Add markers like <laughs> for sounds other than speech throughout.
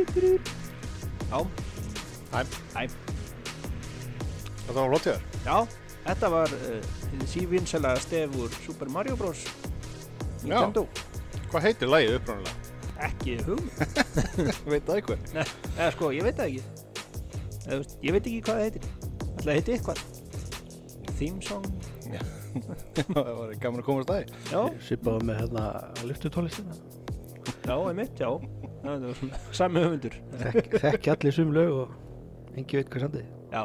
Já, Hæ, hæ, þetta var lótiður. já, þetta var uh, sívinnsela stef úr Super Mario Bros. Já. Nintendo, Hvað heitir lagið upprónulega? ekki hugmynd, Veit það eitthvað? eða sko, ég veit það ekki, eða, þú veist, ég veit ekki hvað það heitir, alltaf það heitir eitthvað, theme song, <laughs> það var gaman að komast að því. já, Svipaðu með hérna lyftutólistina. já, einmitt, já, það var svona <laughs> sami höfundur, Þekk, þekk allir sum lög og engi veit hvað sandi. já,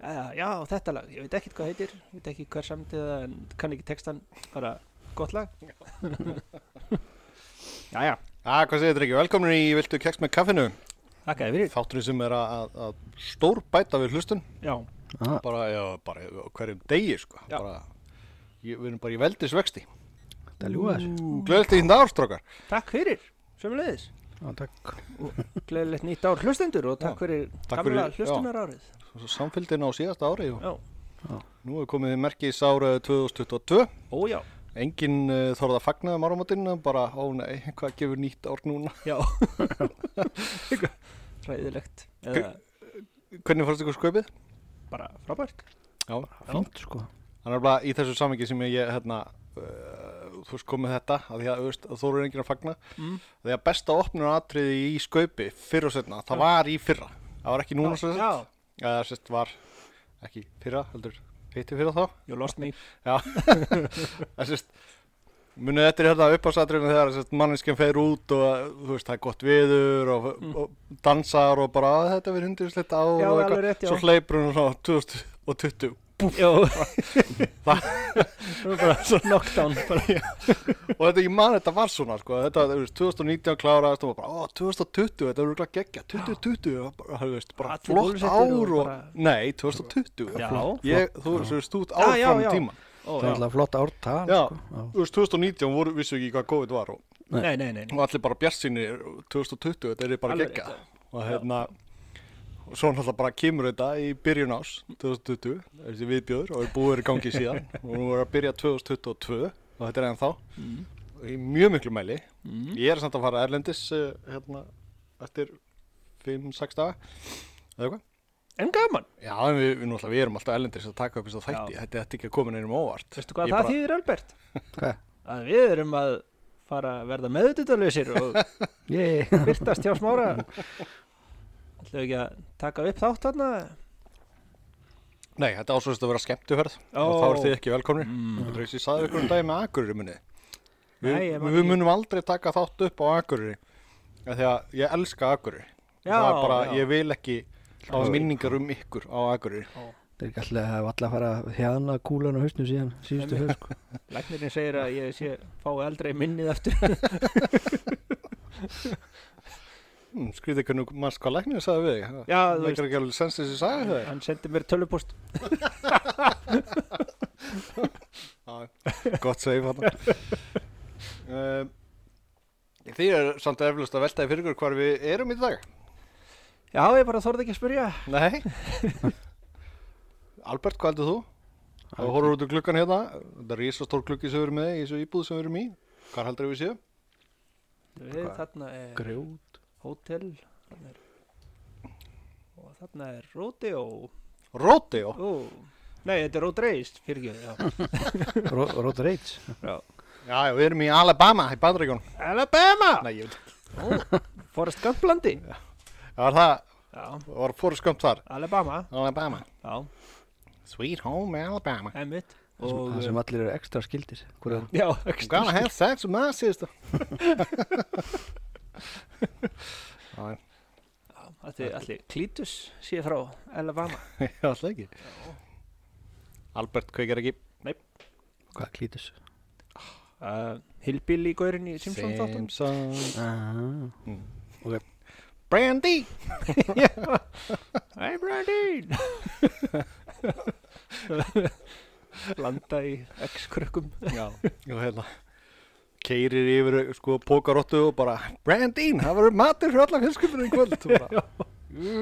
eða, já, þetta lag, ég veit ekkert hvað það heitir, ég veit ekki hver samtið það, en kann ekki textan, bara gott lag, <laughs> já, já, Ah, hvað segir þetta ekki? Velkomin í Viltu keks með kaffinu? þakkaði fyrir, Þátturinn sem er að, að- að stór bæta við hlustun. já, Ah, Bara, já, bara á hverjum degi, sko. Já. Bara, ég, við erum bara í veldisvexti. það ljúa þessu. Gleðilegt í nástrókar. takk fyrir, sömulegðis. Já, takk. Gleðilegt nýtt ár hlustendur og takk Já, fyrir takk gamla fyrir- já. hlustunar árið. Samfildin á síðasta ári og Já, nú er komið merkið sára 2022. ójá, Engin uh, þorða fagnaði márumátinn, bara, ó nei, hvað gefur nýtt ár núna? já. <laughs> Ræðilegt, eða Hvernig fannst ykkur sköpið? bara frábært. Já, Fínt sko. Það er bara í þessu samengi sem ég hérna, uh, þú veist komið þetta að því að, þú veist, að þú eru enginn að fagna Mm. því að besta opnur atriði í skaupi fyrr og setna, það var í fyrra það var ekki núna svo Já, sett eða sérst var ekki fyrra heldur hitti fyrra þá you lost me. það sérst munið þetta er hérna uppásatriðinu þegar sérst, manneskjan fer út og þú veist það er gott viður og, og dansar og bara "Á, þetta verður hundursleitt á Mm. Já, og alveg rétt, já. svo hleypur hún á 2020 <laughs> Já, <laughs> Það- það var bara svo knockdown. Bara. og þetta, ég man þetta var svona sko. þetta, þú veist, 2019 kláraðist og maður bara, ó, 2020, þetta er rúglega geggja 2020, það var bara, þú veist, bara Allir flott bólusettir ár og og, bara- nei, 2020 Já. flott. ég, þú veist, þú veist, þú ert Já, já, áfram í já. tíma Ó, Það er já. alltaf flott ártal Já. sko. Já. þú veist, 2019 voru, vissu ekki hvað COVID var og, Nei, nei, nei. nei. og allir bara bjarsinni 2020, þetta er bara Alveg geggja rétt, og hérna og svo náttúrulega bara kemur þetta í byrjun ás 2020, þessi viðbjöður og er búið í gangi <laughs> síðan og nú er að byrja 2022 og þetta er ennþá Mm. í mjög miklu mæli Mm. Ég er samt að fara erlendis uh, hérna, eftir 5-6 daga eða eitthvað. En gaman, Já, en við, við, náttúrulega, við erum alltaf erlendis að taka upp þess að þætti. Já. Þetta er þetta er ekki að koma neinum á óvart. veistu hvað Ég það bara- þýðir, Albert? <laughs> Hvað? Að við erum að fara að verða meðututalösir og Ég, byrtast hjá smára. Ætlum við ekki að taka upp þátt þarna? Nei, þetta ásvöldist að vera skemmtuferð Ó. og þá er þið ekki velkomni. Mm. Þetta er þess að ég saði ykkur um dagi með Akureyri minni. Vi, Nei, ég man við ekki. munum aldrei taka þátt upp á Akureyri af því að ég elska Akureyri. Já, það er bara, já. ég vil ekki hafa minningar um ykkur á Akureyri. það er ekki alltaf að hafa alltaf að fara hérna kúlan á hausnu síðan síðustu haust sko. Læknirinn segir að ég sé fái aldrei minnið <laughs> aftur. Hmm, Skrítið hvernig mann sko læknir sagði við þig. Já, þú það veist. er ekki alveg sens þessi sagði þig. <laughs> Hann sendi mér tölupost. Gott save <laughs> þarna um, Því er Eh, samt eflust að veltaði fyrir ykkur hvar við erum í dag Já, ég bara þorði ekki að spyrja. Nei <laughs> Albert, hvað heldur þú? Þú horfður út úr gluggan hérna Þetta er risastór gluggi sem við erum með í þessu íbúð sem við erum í Hvar heldur við séum? Við Hvað? þarna er Grjót. hótel þarna er, og þarna er Rodeo. Rodeo Ó, nei, þetta er Rodeist, fyrir ekki. <laughs> Rót Reits. Já, já, við erum í Alabama í Bandaríkjón Alabama! Nei, ég veit Ó, Forrest Gumplandi. Það var það, Já, það var fórskömmt þar Alabama. Alabama Já, Sweet home Alabama Emmett. Og, uh, Það sem allir eru ekstra skildir. Hvor er já, I'm ekki. gonna have sex with my <laughs> sister Já, Allir, allir Klítus sé frá Alabama. Já, alltaf ekki. Albert kveikar ekki. hvað klítus? Uh, Hillbilly gaurinn í Simpson þáttum. Simpsons. Ah. Brandy! Hey <laughs> Brandon! Blanda í <laughs> X-krökkum. Já. <laughs> Og hérna, keirir yfir sko pókarottu og bara Brandín, það verður matur fyrir alla fjölskyldunum í kvöld. Og bara, "Ú,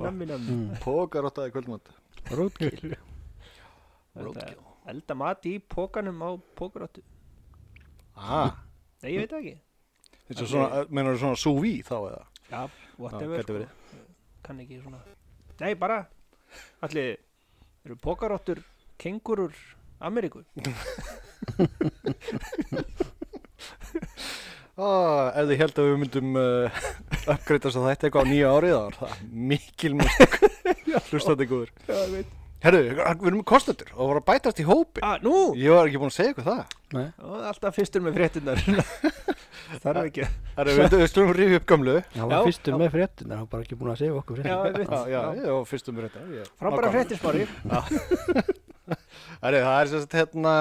Nammi nammi. Mm. Pókarotta í kvöldmátt. <laughs> Rótkill. Þetta- Roadkill. elda mat í pókanum á pókarottu Ah, Nei, ég veit það ekki eins og svona, eh, meinar þú svona súví þá eða? Já, whatever gæti verið. sko. Kann ekki svona Nei, bara Allir, eru pókarottur kengurur Ameríku? Ah, ef þið held að við myndum <laughs> uh, uppgreitast að þetta eitthvað á nýja árið þá er það mikil mistök hlustandi góður. Já, ég veit Herru, við erum kostendur og voru að bætast í hópi. Ah, nú! Ég var ekki búin að segja ykkur það. Nei, Ó, alltaf fyrstur með fréttinnar Þarf ekki að- Herru, við, við slumum rifið upp gamlu. það Já, var fyrstum já. með fréttin en hann var bara ekki búin að segja okkur Já, fréttin. ég veit Já, já, ég var fyrstum með þetta. ég- Frábæra nákvæmlega. fréttinsmári Herru, það er sérst hérna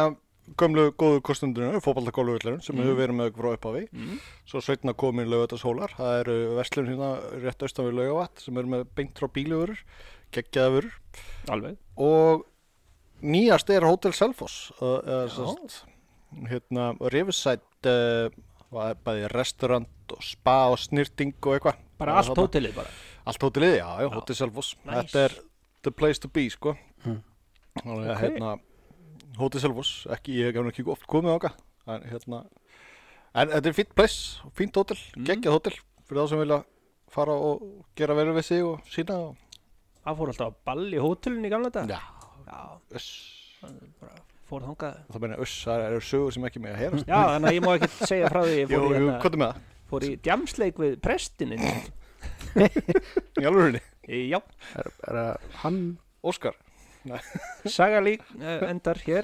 gömlu góðu kostendurinn, fótballtakólugullurinn Mhm. sem við verum með ykkur frá upphafi. mm. Svo sveitna komin laugatasólar, það eru verslun hérna rétt austan við laugavatt sem eru með beint frá bílugurur, geggjaðavurur Alveg og nýjast er Hotel Selfoss uh, uh, Já. sest, hérna Riverside uh, var bæði restaurant og spa og snirting og eitthvað Bara Það er allt þarna. hótelið bara allt hótelið, já, já, Já. Hotel Selfoss Nice. þetta er the place to be, sko Mm. þannig að Ok. hérna Hotel Selfoss, ekki, ég hef nú ekki oft komið áka en hérna en þetta er fínt place, fínt hótel, Mm. geggjað hótel fyrir þá sem vilja fara og gera verið við sig og sína og... Það fór alltaf að balli í hótelinu í gamla dag já, Já, uss bara fór þangað það meina uss, það eru sögur sem ekki með að heyrast Já, þannig að ég má ekkert segja frá því Ég Jú, fór, í, jú, hérna, hvað er með það? fór í djamsleik við prestinin Í alvörinni? Já, Er, er að hann, Óskar? saga lík uh, endar hér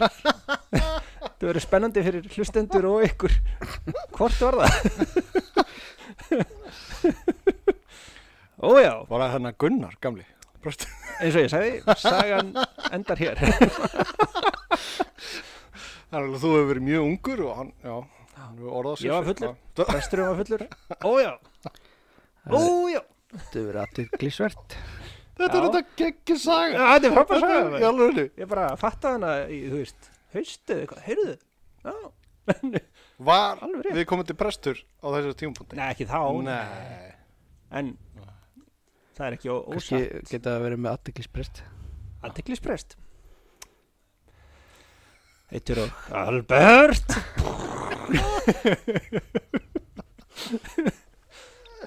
Það verður spennandi fyrir hlustendur og ykkur Hvort var það? Ó já, Var það hennar hérna Gunnar, gamli? Prost. eins og ég sagði Sagan endar hér Það er alveg að þú hefur verið mjög ungur og hann, já, hann hefur orðað sér Ég var fyrir fullur. það. Presturum var fullur Ó já, ó já þetta verið allir glísvert. Þetta er Já. þetta geggjur saga. Þetta er frábæð Þetta saga er maður. í alvörinni. Ég bara fattaði hana í, þú veist, haustu eða eitthvað, heyrðu Já, Var alveg rétt við komum til prestur á þessu tímapunkti? Nei, ekki þá Nei. En það er ekki ó- Kanski ósatt geta að vera með allir glísprest. Aðteglisprest Eittur og Albert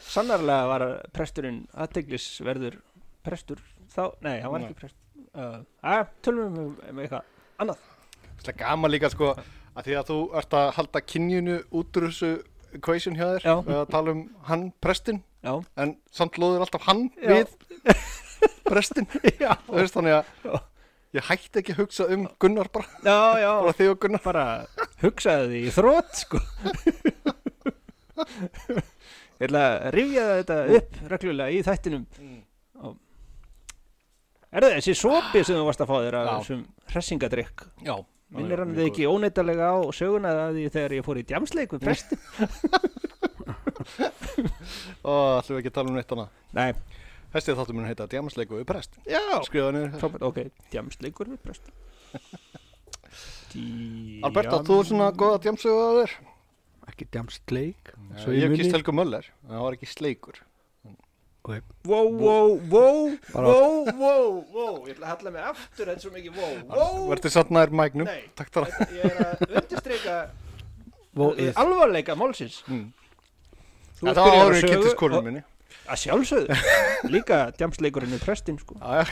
Sannarlega var presturinn aðteglisverður prestur þá, nei, hann var Nei. ekki prestur uh, að, tölum við um, um eitthvað annað Það er gaman líka, sko, að því að þú ert að halda kynjunu út úr þessu equation hjá þér. Já. Við að tala um hann, prestin, <laughs> Já, en samt loður alltaf hann Já. við prestin. já, Þú veist, þannig Já. að ég hætti ekki að hugsa um Gunnar bara. já, já. bara þig og Gunnar bara hugsaði því í þrótt sko ég ætla að rifja þetta upp reglulega í þættinum Mm. Og- er það þessi sopi sem þú varst að fá þér af Já. þessum hressingadrykk Já, minnir hann þið ekki óneittalega á söguna að því þegar ég fór í djamsleik við presti Ó, ætlum við ekki að tala um neitt annað <laughs> nei, Hestið þáttum mun heita Djámsleiku við prest já Skrifa niður Frábært, ok, djamsleikur við presti Dí... Alberta, þú er svona góða djámsögu að þér Ekki djamstleik. Svo Mm. Eh, Ég ég hef kýst muni. Helgu Möller en Það var ekki sleikur Ok, wow, wow, wow, Bara- wow, wow, wow ég ætla að hella mig aftur eins og mikið wow, wow Verður satt nær mæknum Nei. Takk þar Þetta- ég er að undirstreika vóið. alvarleika málsins Mm. Þú Það ert byrjaður var á árið sögu kynntist og- <laughs> konum minni að <laughs> sjálfsögðu líka djamsleikurinn er prestinn sko Jæja.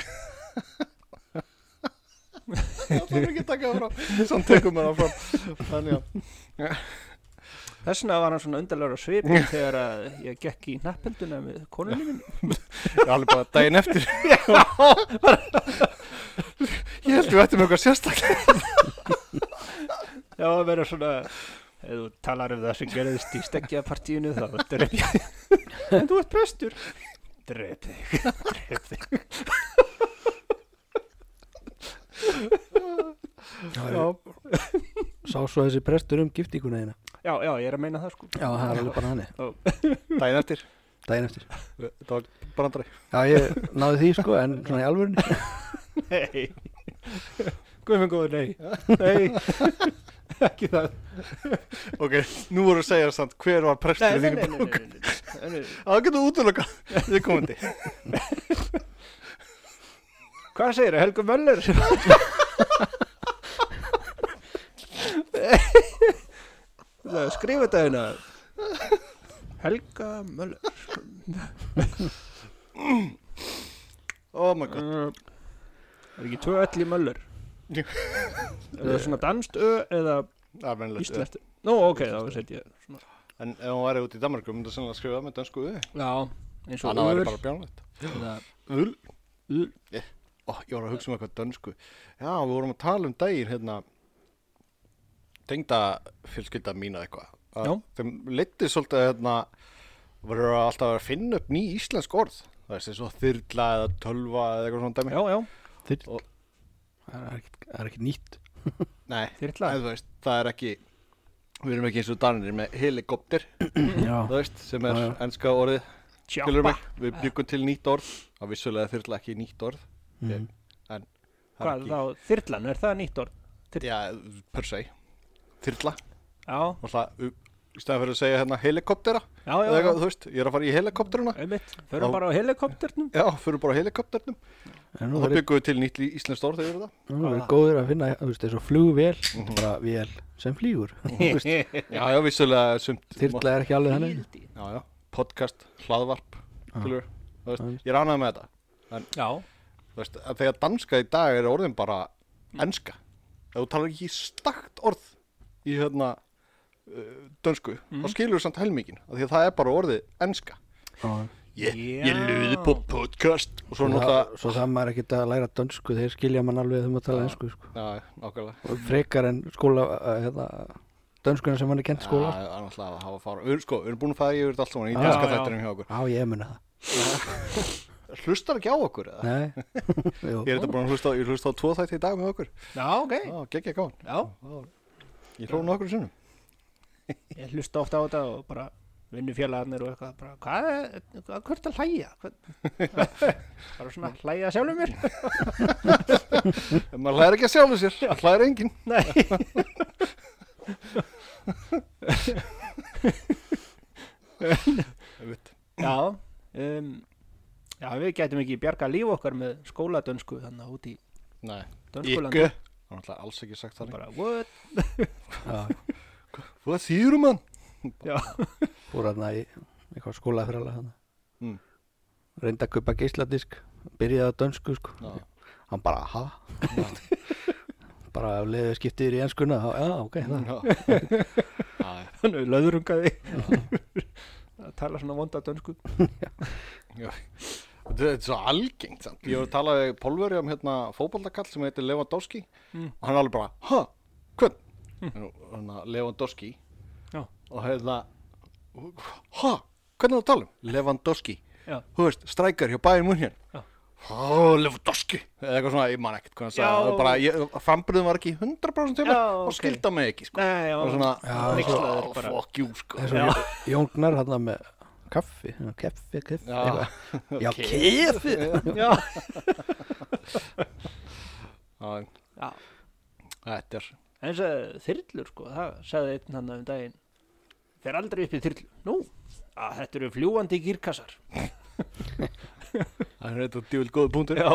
Það þarf ekki að taka það frá Samt tekum við það frá Þannig að þess vegna var hann svona undarlegur á <laughs> svipin þegar að ég gekk í nappelduna með konunni minn Ég er alveg bara daginn <laughs> eftir Ég held við ættum eitthvað sérstaklega já að vera svona ef þú talar um það sem gerðist í stekkjapartíinu <laughs> þá dref ég en þú ert prestur dref þig dref þig Já. Sá svo þessi prestur um giftinguna þína. já já ég er að meina það sko Já, það er alveg bara hann. Daginn eftir Daginn eftir. Það var brandari Já, ég náði því sko, en svona í alvörinu. nei <laughs> guðminn góður nei nei ekki það Ok, nú voru að segja samt hver var Nei, presturinn nei, þín nei, í nei, bók nei, nei, nei. Það getur útlöka viðkomandi <laughs> Hvað segir það, Helgu Möller? <laughs> skrifa þetta hérna Helga Möller Oh my god Uh, Er ekki tvö öll í Möller? Jú. Er það svona danst ö eða Það er mennilegt íslenskt? Nú, ok, þá set ég svona. En ef hún væri út í Danmarku myndi það sennilega skrifa með dansku við Já, eins og Þannig væri öður bara bjánlegt eða- Ul Ul. Ó, ég var að hugsa um eitthvað dansku Já, við vorum að tala um daginn hérna Tengda fjölskylda mína eitthvað Að Já. Þeim leitti svolítið hérna Voru alltaf að finna upp ný íslensk orð Það er svo þyrla eða tölva eða eitthvað svona dæmi Já, já, Þyrl. Og- Það er ekkert- það er ekkert nýtt. Nei, þyrla en þú veist, það er ekki Við erum ekki eins og danir með helikopter Já, Þú veist, sem er Já, já. enska orðið Skilur Tjápa mig, við byggum til nýtt orð Það vissulega er þyrla ekki nýtt orð mhm. Það er Hvað þá, þyrlan, er það nýtt orð? ekki, já, per se Þyrla Já, og það, í staðan fyrir að segja hérna helikoptera já, já, eða já. eitthvað, þú veist, ég er að fara í helikopteruna einmitt, Þá- förum bara á helikopternum já, fyrir bara á helikopternum En nú og Ah. er það byggum við til nýtt lí- íslenskt orð þegar það Nú er góður að finna, þú veist, eins og flugvél, Mhm. bara vél sem <laughs> flýgur. Þú veist, já, já, vissulega sumt Þyrla er ekki alveg þannig. Hildi. já, já, podcast, hlaðvarp Já. skilur, þú veist, Aðeins. ég er ánað með þetta Já, þú veist, að þegar danska í dag er orðin bara enska ef þú talar ekki stakt orð í hérna uh, dönsku, Mm. þá skilur þú samt helmingin af því að það er bara orðið enska Já. ég, Já. ég luði på podcast og svo Svo, náttúrulega það, svo það maður ekkert að læra dönsku, þeir skilja mann alveg þegar maður tala einsku, sko. Já, nákvæmlega Og Frekar en skóla, að, hérna, dönskuna sem hann er kent skóla. Já, það er náttúrulega að hafa fara Við erum sko, við erum búin að fæða yfir þetta allt saman í Já, danska já. þættinum hjá okkur Já, ég muni það. Hlustar ekki á okkur eða? Nei, <laughs> jú. Ég er þetta búin að hlusta á, ég hlusta á tvo þætti í dag með okkur já, ok Já, geggja gaman Já, Ég hlóði nokkur sinnum ég hlusta ofta á þetta og bara vinnu félagarnir og eitthvað bara, hvað, er- hvað, hvert að hlæja Hvað- <laughs> bara svona hlæja sjálfum mér <laughs> En maður hlæðir ekki að sjálfu sér, hlæðir enginn nei Einmitt. já, um, já, við getum ekki bjarga líf okkar með skóladönsku þannig að út í Nei, dönskulandi ykku Það er náttúrulega alls ekki sagt þannig bara, what, <laughs> Já, Hvað þýður mann? já, fór hann í eitthvað skóla fyrir alveg hann. Mm. Reynda að kaupa geisladisk, byrjaði á dönsku, sko. Já. Hann bara, ha? <laughs> bara leðið skiptir í enskuna, þá, já, ok, hérna. það. Já. Já, þannig við löðrungaði að tala svona vonda dönsku Þetta er svo algengt samt. Ég var að tala við Pólveri um hérna fótballakall sem heitir Lewandowski Mm. og hann er alveg bara, hæ, hvern? Mm. Hérna, Lewandowski Já. og hérna, hæ, hvernig er það að tala um? Lewandowski, Já. þú veist, strækar hjá Bayern München. Já. Há, Lewandowski, eða eitthvað svona, ég man ekkert hvað hann sagði, Já. það var bara, ég, framburðum var ekki 100% til mér Já, og ok. skilda mig ekki, sko. nei, já, Og svona, Já, hneykslaður "Ah, bara. fuck you, sko. eins og Jón- Jón Gnar hann með kaffi, keffi, keffi Já. eitthvað. <laughs> já Ok. keffi <laughs> já, Já, já þetta er, eins að þyrlur sko, það sagði einn hann um daginn fer aldrei upp í þyrlu nú, að þetta eru fljúandi gírkassar það er þetta djúvel góðu punktur. já,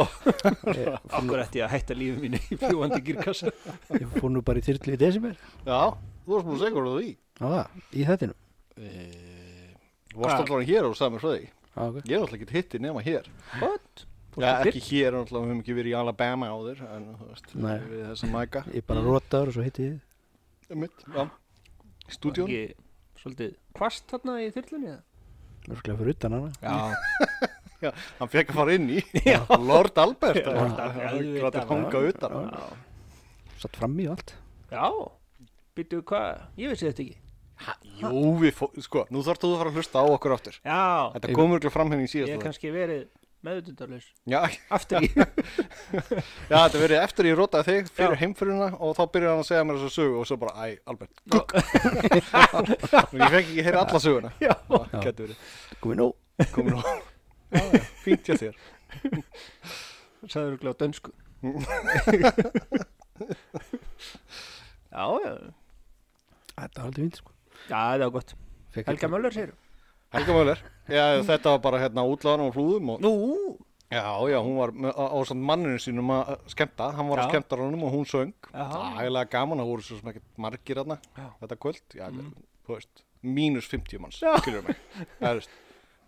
Ég- okkur ætti ég að hætta lífið mínu í fljúandi gírkassar ég fór nú bara í þyrlu í desember Já, þú varst múið segur á því. á það, í þettinum Uh, Hvað? varst allavega hér og sagði mér frá því á, okay. Ég er alltaf ekki hitti nema hér what? Fórstu Já, á ekki hér, alltaf við höfum ekki verið í Alabama áður En þú veist, Nei. við þessa mæka ég bara rótaður og svo hitti ég Mitt, já þyrlu? Stúdíón Ekki svolítið kvast þarna í þyrlunni eða? mörglega fyrir utan hana já, já, Hann fekk að fara inn í Lord Albert Já, Hann það er auðvitað. grátt að hanga utan Já. já, satt frammi og allt já. býttu hvað, ég vissi þetta ekki Ha, Jú, við fó, sko, nú þarfst þú að fara að hlusta á okkur áttur já, Þetta komur ekki fram henni í ég síðast hef kannski verið meðutundarlaus Já, aftur <laughs> í, já, þetta verið eftir ég rótaði þig fyrir Já. heimfyrirna og þá byrjar hann að segja mér þessa sögu og svo bara, æ, <laughs> Albert, gugg Ég fekk ekki að heyra alla söguna já, Já, gæti verið komið nú komin á fínt hjá þér sagður ekki á dönsku já, já, þetta var aldrei vint sko. já, það var gott Fékk Helga ekki- Möller segir Helga Möller já, þetta var bara hérna útláðan á flúðum og, Nú, já, já, hún var með- á, á samt manninu sínum að að skemmta hann var Já. að skemmta honum og hún söng Já. það er eiginlega gaman, það voru svo sem ekkert margir þarna Já. þetta kvöld já, mm. þú veist, mínus 50 manns skilur mig, það er veist,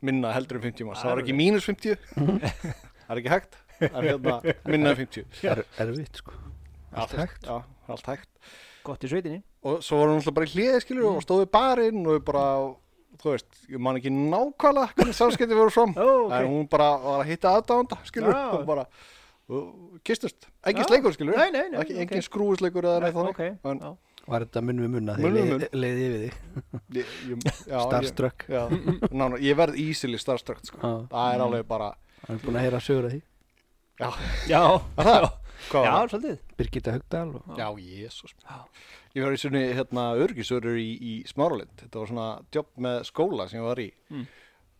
minna heldur en 50 manns, það var ekki mínus 50 það er ekki hægt það er hérna minna en 50 er, erfitt sko allt hægt, já, allt hægt Gott í sveitinni og svo varum við náttúrulega bara í hliði skilur Mm. og stóðum við barinn og við bara þú veist, ég man ekki nákvæmlega hvernig samskipti voru fram <laughs> Ó, ok. en hún bara var að hitta aðdánda skilur Já. og bara og kistust, engin Já. sleikur skilur Nei, nei, nei, ekki, ok. engin skrúisleikur eða neitt þannig Ok, en já. var þetta munn við munna Munn við þegar munn. leið- leiði yfir þig ég, ég, já, ég, starstruck já, ná, ná, ég verð easily starstruck sko. Já. það Mm. er alveg bara hann er búin að heyra sögur að því <laughs> Já, það, hvað já, var það? svolítið Birgitta Haugdal og Já, jésus Já. Ég var í svona hérna, örgisörur í, í Smáralind Þetta var svona jobb með skóla sem ég var í Mm.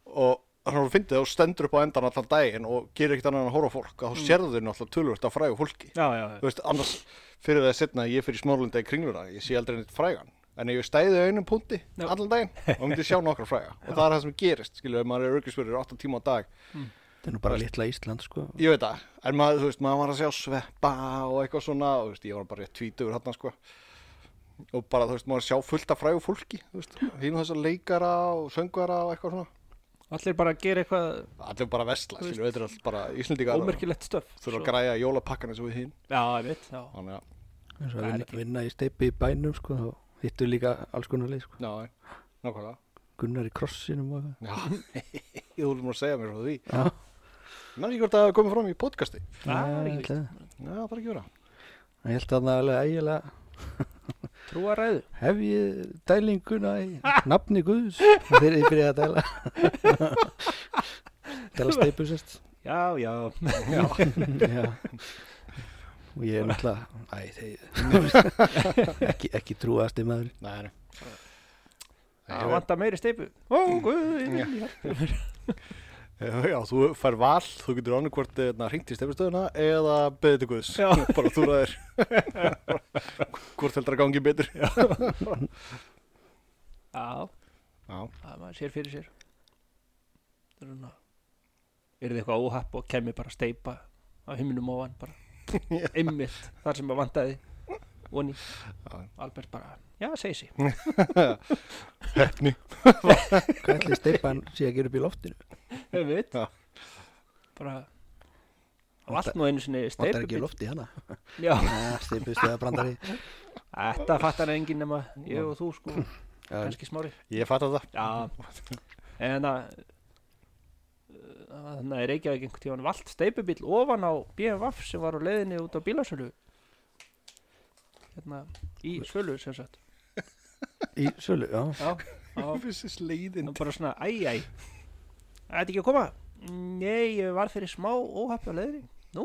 og hann var fyndið og stendur upp á endan allan daginn og gerir ekkert annað en að horfa á fólk og þá sérðu þau náttúrulega tölvöld að frægu fólki Mm. Já, já, já. Þú veist, annars fyrir það setna ég fyrir Smáralunda í kringluna ég sé aldrei neitt frægan en ef ég stæði á einum punkti Já. allan daginn og myndi sjá nokkar fræga og það er það sem gerist, skilur, ef maður er örgisörur 8 tíma á dag þetta er nú bara litla Ísland sko Ég veit það, en maður, þú veist, maður var að sjá sveppa og eitthvað svona og þú veist, ég var bara rétt tvítugur hann sko og bara, þú veist, maður að sjá fullt af frægu fólki þú veist, hínu þessar leikara og söngara og eitthvað svona Allir bara að gera eitthvað Allir bara vesla, skilur, þetta er allt bara Íslendingar ómerkilegt stöf Þurfa að græja jólapakkana eins og við hinn Já, ég veit, já Þannig að, eins og Það er að vinna, ekki- vinna í steipi í bænum sko þá hittu líka alls konar leið sko já, nákvæmlega Gunnar í krossinum og Já, <laughs> ég þú erum að segja mér svo því eitthvað já, Menn ekki hvort það hafi komið fram í podcasti Það er ég ekki held að- Já, bara ekki vera ég held að það alveg ægilega trúa ræðu hef ég dælinguna í nafni Guðs þegar ég byrjaði að <laughs> dæla dæla steipu sérst Já, já, já og ég er náttúrulega æ, þeir, <laughs> ekki, ekki trúast í maður Nei, nei það vantar meiri steipu Ó, guð, ég vil ég Já, Eh, já, þú fær val, þú getur annað hvort hérna, hringt í stefnstöðuna eða beðið til guðs, Já. <laughs> bara þú ræðir hvort heldur að gangi betur Já, Já, já, það maður sér fyrir sér Það er svona Er þið eitthvað óhapp og kemur bara steipa á himminum ofan bara Já. Einmitt, þar sem maður vantaði Voni, Já. Albert bara Já, segi sig hefni hvað ætli steipan sé að gera upp í loftinu Einmitt Já. Bara Það var allt nú einu sinni vantar ekki steipu loft í hana Já, steipu stöða brandari þetta fattar enginn nema ég og þú sko já, kannski smári Ég fatt að það já <laughs> en að uh, þannig að Reykjavík einhvern tíðan vald steipubíl ofan á BMF sem var á leiðinni út á bílasölu hérna í sölu sem sagt í sölu, já já, já Þessi sleiðin en bara svona æj æj ætti ekki að koma nei, ég var fyrir smá óhappi á leiðinni nú,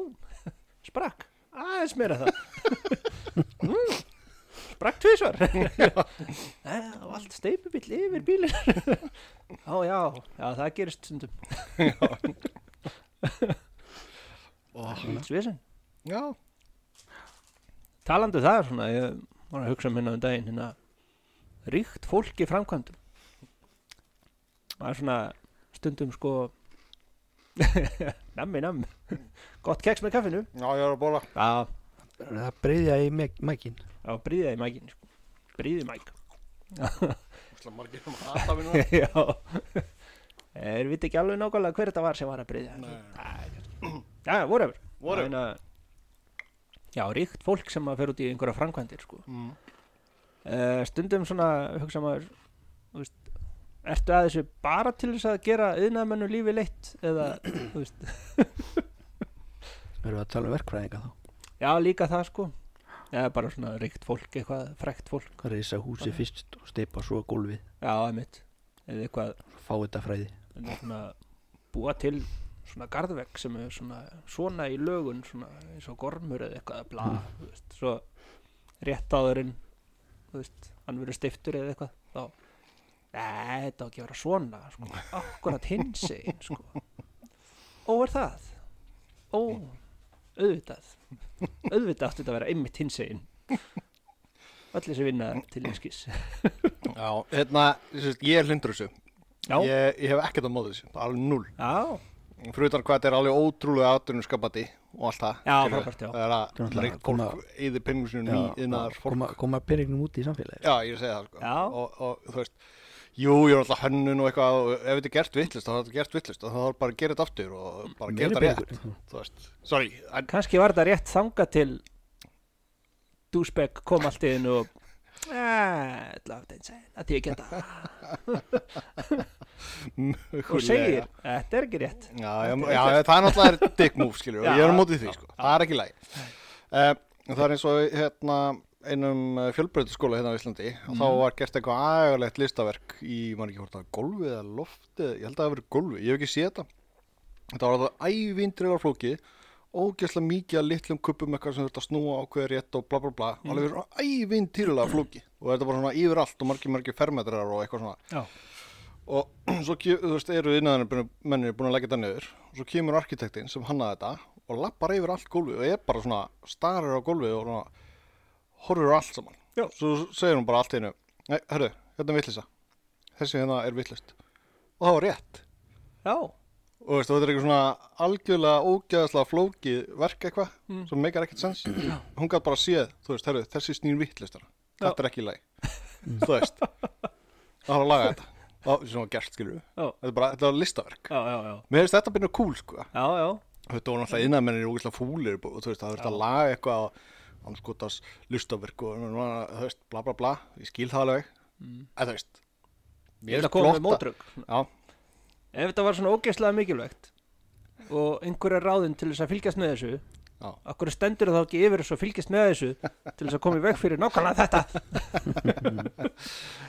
sprakk aðeins meira það nú, sprakk tvisvar <laughs> Nei, það var allt steipubill yfir bílinn <laughs> já, já, já, það gerist stundum Lítsvesen Já, Talandi um það svona, ég var að hugsa minna um daginn hérna, ríkt fólk í framkvæmdum maður er svona stundum sko <laughs> nammi namm gott keks með kaffinu já, ég er að bóla já, það breyðja í mek- mækin já bríða í mækin sko. bríði <laughs> mæk Það er margir um að hata <laughs> minna já er við ekki alveg nákvæmlega hver þetta var sem var að bríða já, whatever, Whatever. Meina, já, ríkt fólk sem að fer út í einhverja framkvæmdir sko Mm. uh, stundum svona hugsa maður þú veist, ertu að þessu bara til þess að gera yðnaðmennu lífi leitt eða þú veist, við erum að tala um verkfræðinga þá já líka það sko eða bara svona ríkt fólk eitthvað frekt fólk, reysa húsi fyrst og steipa svo gólfið já emitt eða eitthvað fá þetta fræði en það svona, búa til svona garðvegg sem er svona, svona í lögun svona, eins og gormur eða eitthvað bla, þú veist, svo rétt áðurinn þú veist, hann verður stiftur eða eitthvað þá, nei, þetta á ekki að vera svona sko, akkurat hins einn sko. ó, er það ó, auðvitað auðvitað átti þetta að vera einmitt hins einn allir sem vinna til einskis Já, hérna, sem sagt, ég er hlindur þessu já, ég, ég hef ekkert á móðu þessu, alveg null já, Fyrir utan hvað þetta er alveg ótrúlega aðdunum skapandi og allt það Já, skilurðu. frábært, já. það er Það er að náttúrulega reyk koma- fólk eða penningusunum í innar fólk koma, koma peningnum út í samfélagi já, ég segi það sko Já. og, og þú veist Jú, ég er alltaf hönnun og eitthvað og ef þetta er gert vittlist, þá er þetta gert vittlist og þá er bara að gera þetta aftur og bara Mm, að gera Meiri þetta rétt peningur. þú veist, sorry, en kannski var þetta rétt þanga til Dúsbegg kom allt í þinn og Eh, lagt einn sæn að ég geta og segir, þetta er ekki rétt Já, já, já, það er náttúrulega dick move, skilur Já. og ég er á mótið því, sko, það er ekki læg uh, Það er eins og í, hérna einum fjölbreytiskóla hérna á Íslandi og Mhm. þá var gert eitthvað agalegt listaverk í, mann ekki hvort það var gólfið eða loftið, ég held að það hafi verið gólfið, ég hef ekki séð þetta Þetta var alltaf ævindriðar flókið ógeðslega mikið að litlum kuppum eitthvað sem þurft að snúa ákveður rétt og bla bla bla Mhm. alveg svona ævindýrlega flókið og þetta bara svona yfirallt og margir margir fermetrar og eitthvað svona já, og <clears throat> svo ke- þú veist, eru innæðanmennir búin að leggja þetta niður og svo kemur arkitektinn sem hannaði þetta og lappar yfir allt gólfið og er bara svona starir á gólfið og svona, horfir á allt saman Já. svo segir hún bara allt í einu nei, hörru, hérna er vittlisa þessi hérna er vittlist og það var rétt já, og veist, og þetta er eitthvað svona algjörlega ógæðaslega flókið verk eitthvað sem meikar ekkert sens hún gætt bara séð, þú veist, herru, þessi snýr vittlistana þetta er ekki í lagi þú veist, það var að laga þetta það var svona gert, skilur við já, þetta er bara, þetta var listaverk já, já, já. mér finnst þetta byrja kúl sko já, já. þetta voru náttúrulega innanmennir og úgislega fúlir og þú veist það þurfti að laga eitthvað á anskotas listaverk og þú veist bla bla bla, ég skil það alveg en þú veist Mm. Ég vil að finnst koma með flott að- mótrug já, Ef þetta var svona ógeðslega mikilvægt og einhver er ráðinn til þess að fylgjast með þessu Já. Akkur stendur þá ekki yfir þess að fylgjast með þessu til þess að koma í veg fyrir nákvæmlega þetta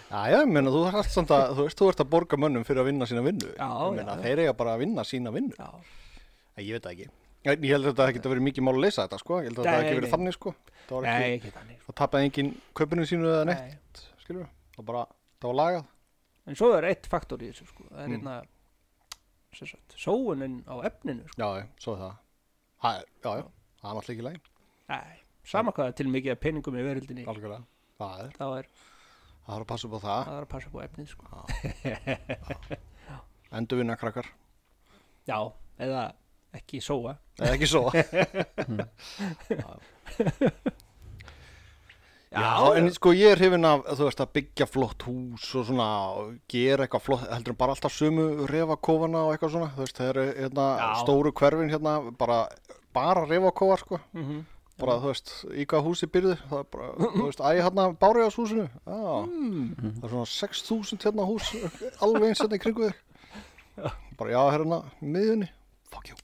já, já, ég meina þú ert samt að þú veist, þú ert að borga mönnum fyrir að vinna sína vinnu Já, ég já, meina já. þeir eiga bara að vinna sína vinnu Já, en ég veit það ekki En ég held að þetta geta verið mikið mál að leysa þetta sko ég held að Nei, þetta ekki verið nei. þannig sko það var nei, ekki, ekki þannig það tapaði engin kaupinu sínu eða Nei. neitt skilur við, það bara, það var lagað En svo er eitt faktor í þessu sko Það Mm. er hérna sem sagt, sóunin á efninu sko. Já, já, svo er það. það er, já, já, það er náttúrulega ekki í lagi, Nei, sama hvað er til mikið af peningum í veröldinni algjörlega. Það er, þá er það er að passa upp á það. það er að passa upp á efnið sko Ah. Endur vinna krakkar, Já, eða ekki sóa eða ekki <laughs> svo. já, en sko ég er hrifin af, þú veist, að byggja flott hús og svona, og gera eitthvað flott, heldur en bara alltaf sömu refakofana og eitthvað svona, þú veist, það eru hérna Já. stóru hverfin hérna, bara, bara refakofar, sko. Mhm. Bara, þú veist, í hvað húsi byrðu, það er bara, þú veist, æ, hérna, báriðashúsinu, já, það er svona 6.000 hérna hús, alveg eins hérna í kringu þig. bara já, hérna, miðunni fuck <laughs> you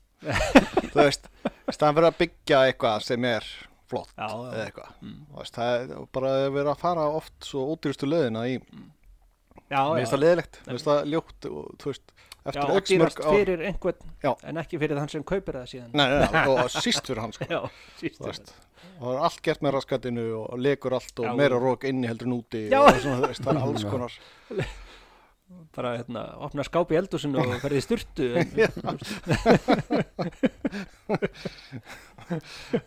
þú veist, í staðan fyrir að byggja eitthvað sem er flott Já, já. Mm. eða eitthvað, þú veist, það er bara að vera að fara oft svo ódýrustu löðina í, mér Já, já, finnst það leðilegt mér finnst það ljótt og, þú veist, já, eftir og x dýrast mörg ár fyrir einhvern Já. en ekki fyrir þann sem kaupir það síðan nei, nei, nei, og síst fyrir hans sko. <laughs> Já, síst þú veist og það er allt gert með raskatinu og legur allt og Já. meira rók inni heldur en úti Já. og svona, þú veist, það er alls Já. konar bara hérna, opna skáp í eldúsinu og ferði í styrtu <laughs> en,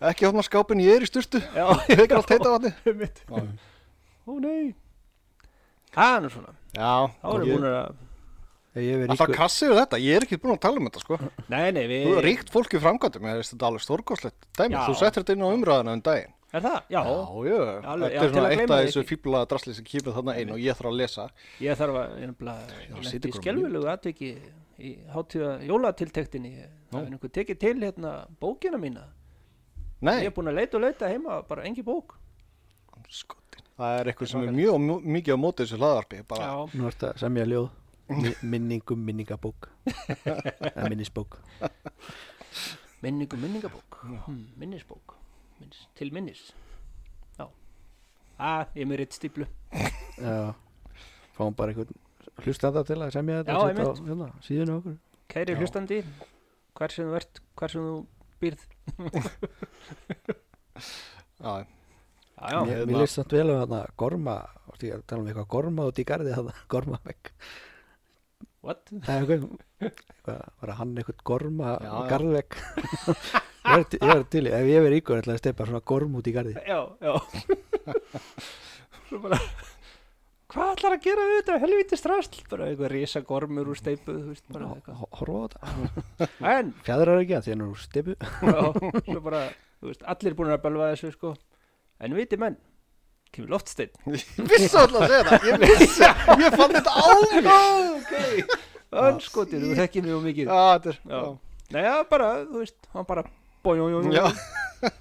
ekki opna skápin, ég er í sturtu Já, ég veit allt heita vatni mitt Ó nei Það er nú svona, já, þá erum ég- við búin að Ef ég verið alltaf ríkur- kassi við þetta, ég er ekki búin að tala um þetta sko Nei, nei, við Þú- Ríkt fólk í framkvæmdum, ég veist þetta er alveg stórkoslegt dæmi, Já. þú settir þetta inn á umræðana um daginn. Er það? Já, já, Alveg, já, þetta er til svona að eitt gleyma af því þessu ekki. fíblaða drasli sem kýmur þarna inn og ég þarf að lesa. ég þarf að ég nefnilega, Já, ég situr lendi í ykkur á skelfilegu atviki í hátíða jólatiltektinni það er einhver tekið til hérna bókina mína ég Nei, er búin að leita og leita heima, bara engi bók skotin. Það er eitthvað sem er mjög mjög mikið á móti þessu hlaðarpi, bara Já, Nú ertu að semja <laughs> ljóð Mi- Minningum minningabók Eða minnisbók minningum minningabók hmm, minnisbók, minnis, til minnis Já Ah, ég er með rétt stíplu Já Fáum bara einhvern hlustanda til að semja þetta Já, og setja á, hérna, Síðuna okkur Kæri Já. hlustandi, hvar sem þú ert, hvar sem þú býrð já, Já, já, Mér, mér hérna. leist samt vel um þarna gorma Þú veist, ég er að tala um eitthvað gorma út í garði þarna <laughs> Gorma vekk what? Nei, eitthvað, eitthvað, var að hann eitthvað Já, gorma já, já. garðvegg ég er til- ég er til, í- ef ég verið ykkur ætla að steipa svona gorm út í garði Já, já Svo bara hvað ætlar að gera við þetta helviti strasl bara eitthvað risagormur úr steipu þú veist, bara eitthvað. horfa á þetta en fjæðrar ekki að því hann er úr stipu já, svo bara, þú veist, allir búin að belva þessu sko. en viti menn kemur loftsteinn Ég vissi alltaf að segja það Ég vissi, ég fann þetta á mig önskotið, þú þekkir mjög mikið Já, þetta er Já. já. neða bara, þú veist, hann bara bójójójó, Já.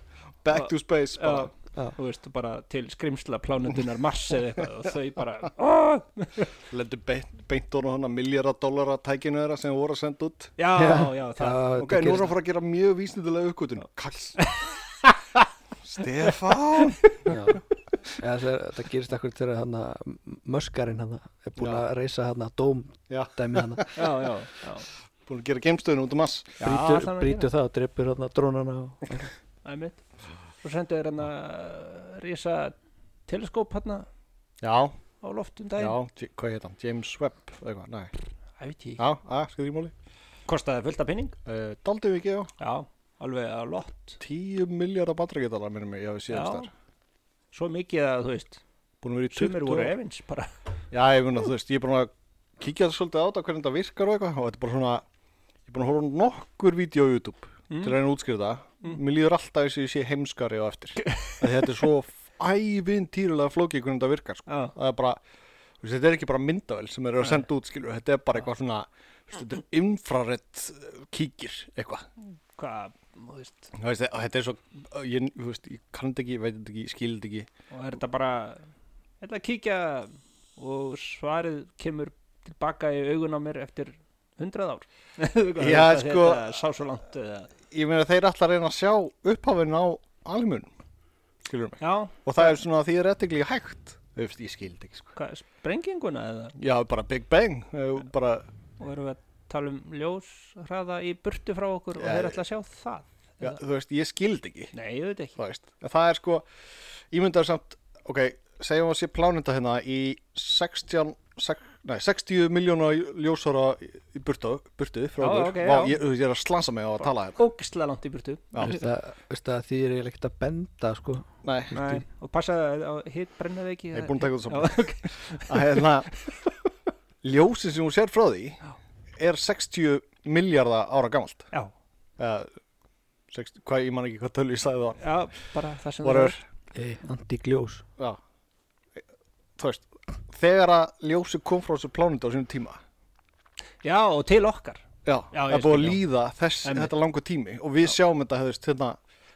Back to space bara. þú veist, bara til skrimsla plánutunar Mars eða eitthvað og þau <laughs> bara "Ah!" Lendu beint, beint orðan hann að miljara dólara tækinu þeirra sem voru að senda út já, já, <laughs> já, það Ok, nú erum við að fara að gera mjög vísindilega uppgötun <laughs> Kalls Stefán Já, það, það gerist akkur til að hana, möskarinn hana er búin Já. að reysa hana dómdæmi Já, hana já, já, já, búin að gera geimstöðun út um mass <laughs> já brítur, það er að brítur það og dreipur hana drónana og, gera. Einmitt. svo sendu þér hann að risa teleskóp hérna hann á Já, loftum já, um daginn J- hvað heit hann? James Webb eitthvað, nei Það veit ég ekki. Já, að, skriði í máli kostaði fullt af pinning uh, Daldi við ekki, já já, alveg að lott 10 miljardar batterigetalar minnum mig, já, við Já. séðast þar svo mikið að þú veist, Búin að vera í 20 sumir voru ár. efins bara, Já, ég meina, þú veist, ég er búin að kíkja svolítið á þetta hvernig þetta virkar og eitthvað og þetta er bara svona, ég er búin að horfa á nokkur vídeo á YouTube til að reyna að útskýra það Mér líður alltaf eins og ég sé heimskari á eftir Af því Þetta er svo ævintýrulega flókið hvernig þetta virkar sko. já, Það er bara, þú veist, þetta er ekki bara myndavel sem þeir eru að senda út, skilur Þetta er bara eitthvað svona, þú veist, þetta er infrarett kíkir eitthvað hvað, þú veist Þú veist, og Þetta er svo, uh, ég, þú veist, ég kann þetta ekki, ég veit þetta ekki, ég skil þetta ekki og er þetta bara ég ætla að kíkja og svarið kemur tilbaka í augun á mér eftir <laughs> hundrað ár Já, Þetta- sko- þetta sá svo langt eða, Ég meina, þeir alltaf reyna að sjá upphafinn á almunum, skilur mig já, og það er svona því er ettinglega hægt Þú veist, ég skildi ekki sko hvað, sprenginguna eða, já, bara Big Bang eh, bara, og erum við að tala um ljós hraða í burtu frá okkur og Já, þeir ætla að sjá það já, þú veist, ég skildi ekki nei, ég veit ekki þú veist, en það er sko ímyndar samt, ok, segjum að sé plánenda hérna í 60 sek, nei, 60 miljóna ljósara í burtu, burtu frá Já, okkur ok, Vá, já. Ég, þú veist, ég er að slansa mig á að tala hérna ógislega langt í burtu Já. veist að, veist að því er eiginlega ekkert að benda sko. nei, nei, og passaði að hitt brennaði ekki Ég er búinn að taka þetta saman. saman að hérna ljósin sem hún sér frá því er 60 miljardar ára gamalt já, uh, 60, hvað, ég man ekki hvað tölu ég sagði það já, bara það sem voru hey, anti-gljós Já Þú veist, þegar að ljósið kom frá þessu plánundi á sínum tíma já, og til okkar Já, Já, það ég er búið að skil, já. líða þess, Einmitt. þetta langur tími og við sjáum þetta, þú veist, hérna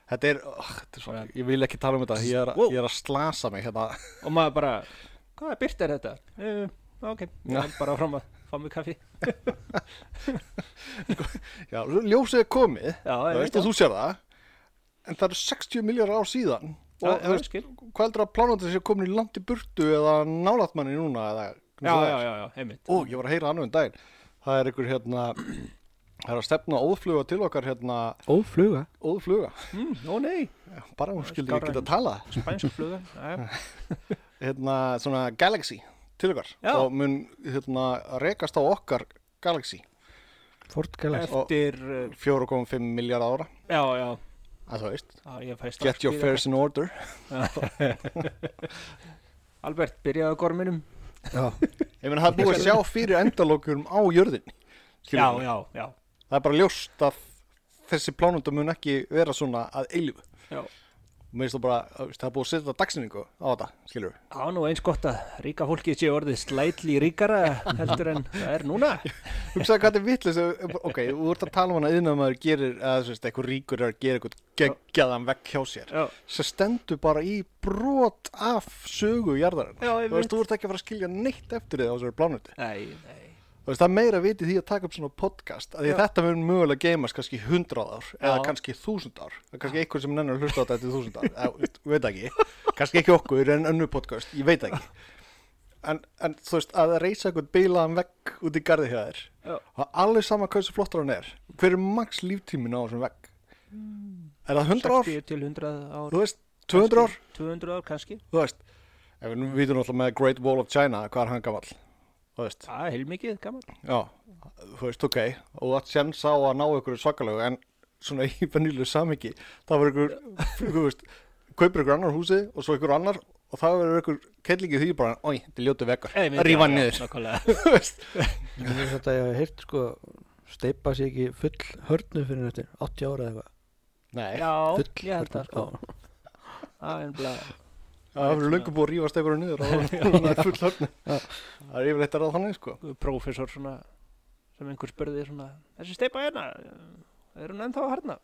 Þetta er, oh, þetta er svo, ég vil ekki tala um þetta, ég er, Wow. ég er að slasa mig hérna og maður bara, hvaða byrt er þetta? Uh, ok, ég held bara fram að fá mig kaffi Já, ljósið er komið, Já, þú ég veist, veit og þú sér það En það eru 60 miljardar ár síðan Já, Og já, þú ég veist, skil. hvað heldur að plánundi séu komin í langt í burtu eða nálægt manni núna eða Já, já, já, já, einmitt Ó, ég var að heyra annum daginn Það er ykkur hérna, <clears throat> það er að stefna ófluga til okkar hérna ófluga ófluga Mm, Ó nei, bara hún skildi skárra ekki geta að tala spænsk fluga Jæja. <laughs> hérna svona Galaxy til okkar Já. og mun hérna rekast á okkar Galaxy fortgælega Eftir, uh, 4,5 miljard ára já, já að þú veist Já, ég fæ strax get your byrjað. affairs in order Albert, byrjaðu á gorminum ég meina það er búið að sjá fyrir endalokurum á jörðin Já, Skilurðu? já, já, það er bara ljóst að þessi plánundum mun ekki vera svona að eilifu já Mér finnst það bara, þú veist, það er búið að setja dagsinningu á þetta, skilur við. Já, nú eins gott að ríka fólkið sé orðið slætli ríkara heldur en það er núna Hugsaðu hvað þetta er vitlis, ok, þú ert að tala um hana yðnum að maður gerir, að þú veist, eitthvað ríkur er að gera eitthvað geggjaðan vekk hjá sér. Já, sem stendur bara í brot af sögu jarðarinn Já, ég þú veist, veit. þú ert ekki að fara að skilja neitt eftir þið á þessari plánuti nei, nei þú veist, það er meira vitið því að taka upp svona podcast að því að Já. þetta mun mögulega geymast kannski 100 ár eða Já. kannski 1000 ár það er kannski einhver sem nennar að hlusta á þetta eftir 1000 ár eða, veist, veit ekki, kannski ekki okkur en önnu podcast, ég veit ekki en, en þú veist, að reysa eitthvað beilaðan vegg út í garði hjá þér Já. og alveg sama hversu flottur hann er hver er max líftímin á þessum vegg er það 100 ár, 60 til 100 ár þú veist, 200 ár 200 ár kannski þú veist ef við vitum alltaf með Great Wall of China hvað er hann gamall þú veist, Það er heilmikið, gaman já, þú veist, ok og þú átt sjens á að ná ykkur svakalegu en svona í vanilu samhengi það var ykkur, þú veist kaupir ykkur annar húsi og svo ykkur annar og það verður einhver kellingi því bara, oi, þetta er ljótu vekkar Eða ég myndi- rífa já, hann já, niður nákvæmlega. <laughs> Þú veist, Ég hef þetta að ég hef heyrt sko steipa sér ekki full hörnu fyrir þetta 80 ára eða eitthvað Nei, Já, full ég held það sko hörnu, já. Það er einhverja það verður löngu búið að rífa stekurinn niður og það er full hörnu Já. Það er yfirleitt að ráða þannig <laughs> sko prófessor svona sem einhver spurði svona Þessi steipa hérna, eh, er hún ennþá að harna?